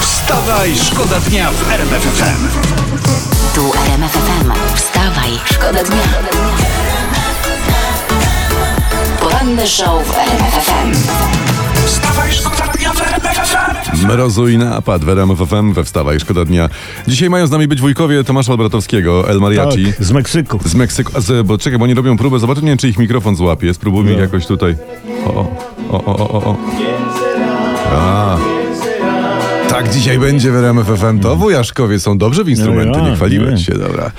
Wstawaj, szkoda dnia w RMFFM. Tu RMF FM. Wstawaj, szkoda dnia. Poranny show w RMF FM. Wstawaj, szkoda dnia w RMFFM. Mrozu i napad w RMF FM we Wstawaj, szkoda dnia. Dzisiaj mają z nami być wujkowie Tomasza Albratowskiego, El Mariachi. Tak, z Meksyku. Z Meksyku, a z, bo czekaj, bo oni robią próbę, zobaczę, nie wiem, czy ich mikrofon złapie. Spróbujmy ich No. jakoś tutaj. O, o, o, o, o, o. A. Tak dzisiaj będzie w RMF FM. To wujaszkowie są dobrze w instrumenty, No ja, nie chwaliłem nie. się, dobra.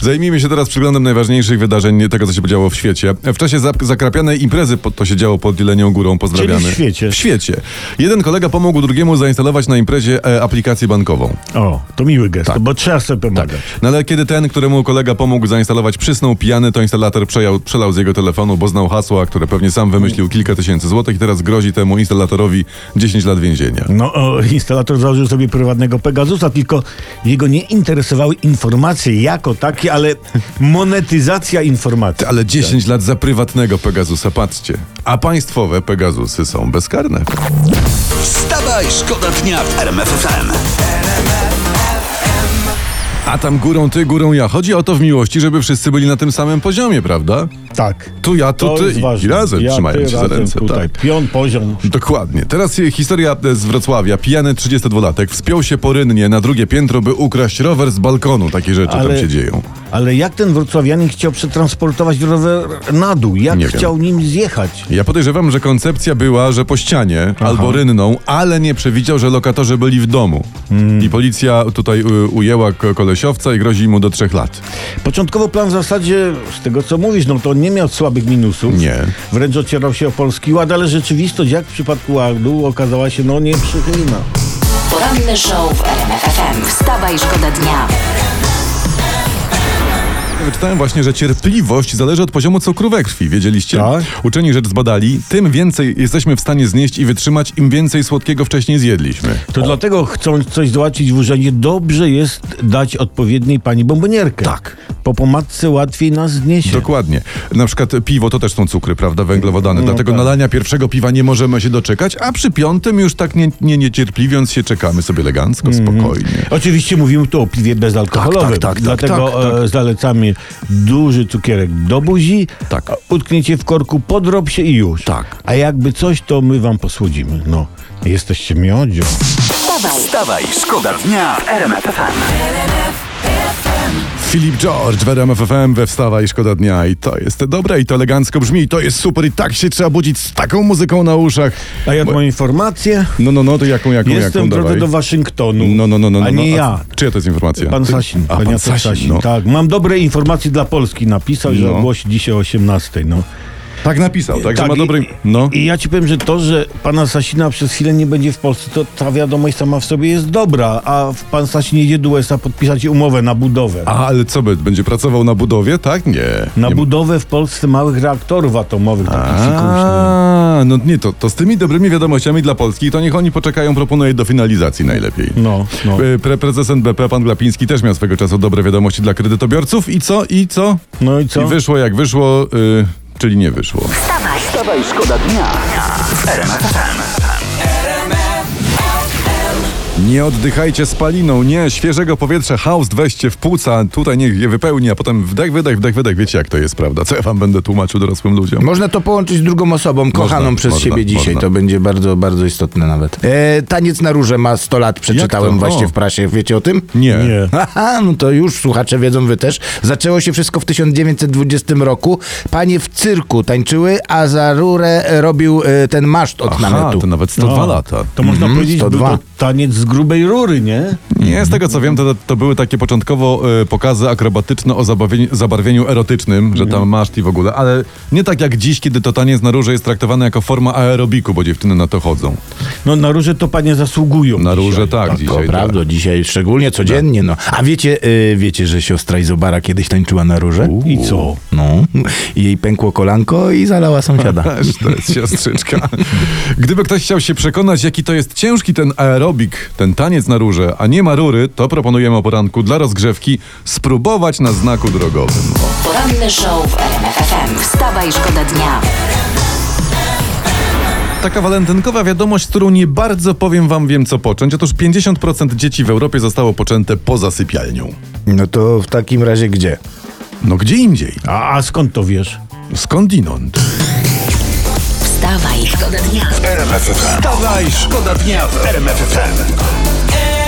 Zajmijmy się teraz przeglądem najważniejszych wydarzeń, nie tego, co się podziało w świecie. W czasie zap- zakrapianej imprezy pod, to się działo pod Jelenią Górą, pozdrawiamy. Czyli w świecie. W świecie. Jeden kolega pomógł drugiemu zainstalować na imprezie e, aplikację bankową. O, to miły gest, Tak. bo trzeba sobie pomagać. No ale kiedy ten, któremu kolega pomógł zainstalować, przysnął pijany, to instalator przejął, przelał z jego telefonu, bo znał hasła, które pewnie sam wymyślił kilka tysięcy złotych i teraz grozi temu installatorowi 10 lat więzienia. No, o, instalator założył sobie prywatnego Pegasusa, tylko jego nie interesowały informacje jako takie, ale monetyzacja informacji. Ale 10 lat za prywatnego Pegasusa, patrzcie. A państwowe Pegasusy są bezkarne. Wstawaj, szkoda dnia w RMFFM. A tam górą ty, górą ja. Chodzi o to w miłości, żeby wszyscy byli na tym samym poziomie, prawda? Tak. Tu ja, tu To ty jest i, ważne. i razem ja, trzymają ty się za razem ręce. Tutaj. Tak. Pion, poziom. Dokładnie. Teraz e, historia e, z Wrocławia. Pijany 32-latek wspiął się porynnie na drugie piętro, by ukraść rower z balkonu. Takie rzeczy tam Ale- się dzieją. Ale jak ten wrocławianin chciał przetransportować rower na dół? Jak Nie wiem. chciał nim zjechać? Ja podejrzewam, że koncepcja była, że po ścianie albo rynną, ale nie przewidział, że lokatorzy byli w domu. Hmm. I policja tutaj y, ujęła ko- kolesiowca i grozi mu do trzech lat. Początkowo plan w zasadzie, z tego co mówisz, no to on nie miał słabych minusów. Nie. Wręcz ocierał się o Polski Ład, ale rzeczywistość, jak w przypadku Ładu, okazała się no nieprzychylna. Poranny show w RMF FM. Wstawaj, szkoda dnia. Wyczytałem właśnie, że cierpliwość zależy od poziomu cukru we krwi. Wiedzieliście? Tak. Uczeni rzecz zbadali. Tym więcej jesteśmy w stanie znieść i wytrzymać, im więcej słodkiego wcześniej zjedliśmy. To dlatego, chcąc coś załatwić w urzędzie, dobrze jest dać odpowiedniej pani bombonierkę. Tak. Po pomadce łatwiej nas zniesie. Dokładnie. Na przykład piwo to też są cukry, prawda? Węglowodany. Dlatego tak. nalania pierwszego piwa nie możemy się doczekać, a przy piątym już tak nie, nie niecierpliwiąc się czekamy sobie elegancko, Mhm. spokojnie. Oczywiście mówimy tu o piwie bezalkoholowym. Tak, tak, tak, tak, Dlatego tak, e, zalecamy duży cukierek do buzi, Tak. a utknięcie w korku, podrob się i już. Tak. A jakby coś, to my wam posłudzimy. No, jesteście miodzią. Wstawaj, Wstawaj, szkoda dnia w RMFFM. Filip George w RMF FM we Wstawa i Szkoda Dnia. I to jest dobre i to elegancko brzmi i to jest super i tak się trzeba budzić z taką muzyką na uszach. A ja tu Bo- mam informację. No, no, no, to jaką, jaką, Jestem jaką, w drodze dawaj. do Waszyngtonu. No, no, no, no. A no, nie no. ja. Czyja to jest informacja? Pan Ty- Sasin. A, pan pan Jacek Sasin, Sasin. no. tak. Tak, mam dobre informacje dla Polski. Napisał, że No. ogłosi dzisiaj o 18. No. napisał, tak, że Tak, ma i- dobry... No. I ja ci powiem, że to, że pana Sasina przez chwilę nie będzie w Polsce, to ta wiadomość sama w sobie jest dobra, a w- pan Sasin jedzie do USA podpisać umowę na budowę. A, ale co, by- będzie pracował na budowie, tak? Nie. na nie budowę w Polsce małych reaktorów atomowych. takich fikuśnych. A, no nie, to, to z tymi dobrymi wiadomościami dla Polski, to niech oni poczekają, proponuję do finalizacji najlepiej. No, no. E, Pre prezes NBP, pan Glapiński, też miał swego czasu dobre wiadomości dla kredytobiorców i co, i co? No i co? I wyszło jak wyszło, y, czyli nie wyszło. Wstawaj, szkoda dnia w RMFFM. Nie oddychajcie spaliną, nie, świeżego powietrza, haust weźcie w płuca, tutaj niech je wypełni, a potem wdech, wydech, wdech, wydech, wiecie jak to jest, prawda? Co ja wam będę tłumaczył dorosłym ludziom? Można to połączyć z drugą osobą, kochaną przez można, siebie dzisiaj. można. To będzie bardzo, bardzo istotne nawet. E, Taniec na róże ma 100 lat, Jak przeczytałem to? właśnie O. w prasie. Wiecie o tym? Nie. Nie. Aha, no to już słuchacze wiedzą, wy też. Zaczęło się wszystko w 1920 roku. Panie w cyrku tańczyły, a za rurę e, robił e, ten maszt od Aha, namiotu. to nawet 102 lata. No. Mhm. To można powiedzieć, był 102. to taniec z grubej rury, nie? Nie, z tego co wiem, to, to były takie początkowo e, pokazy akrobatyczne o zabawieniu, zabarwieniu erotycznym, że tam masz i w ogóle, ale nie tak jak dziś, kiedy to taniec na róże jest traktowane jako forma aerobiku, bo dziewczyny na to chodzą. No na róże to panie zasługują. Na dzisiaj. róże tak, To dzisiaj. Tak. prawda, dzisiaj szczególnie codziennie. No. A wiecie, y, wiecie, że siostra Izobara kiedyś tańczyła na róże? I co? No. I Jej pękło kolanko i zalała sąsiada. Też to jest siostrzyczka. Gdyby ktoś chciał się przekonać, jaki to jest ciężki ten aerobik, ten taniec na róże, a nie ma rury, to proponujemy o poranku dla rozgrzewki spróbować na znaku drogowym. O. Poranny show w RMF FM. Wstawaj, szkoda dnia. Taka walentynkowa wiadomość, z którą nie bardzo powiem wam wiem co począć. Otóż 50% dzieci w Europie zostało poczęte poza sypialnią. No to w takim razie gdzie? No gdzie indziej? A, a skąd to wiesz? Skądinąd? Wstawaj, szkoda dnia. Wstawaj, szkoda dnia w RMF FM.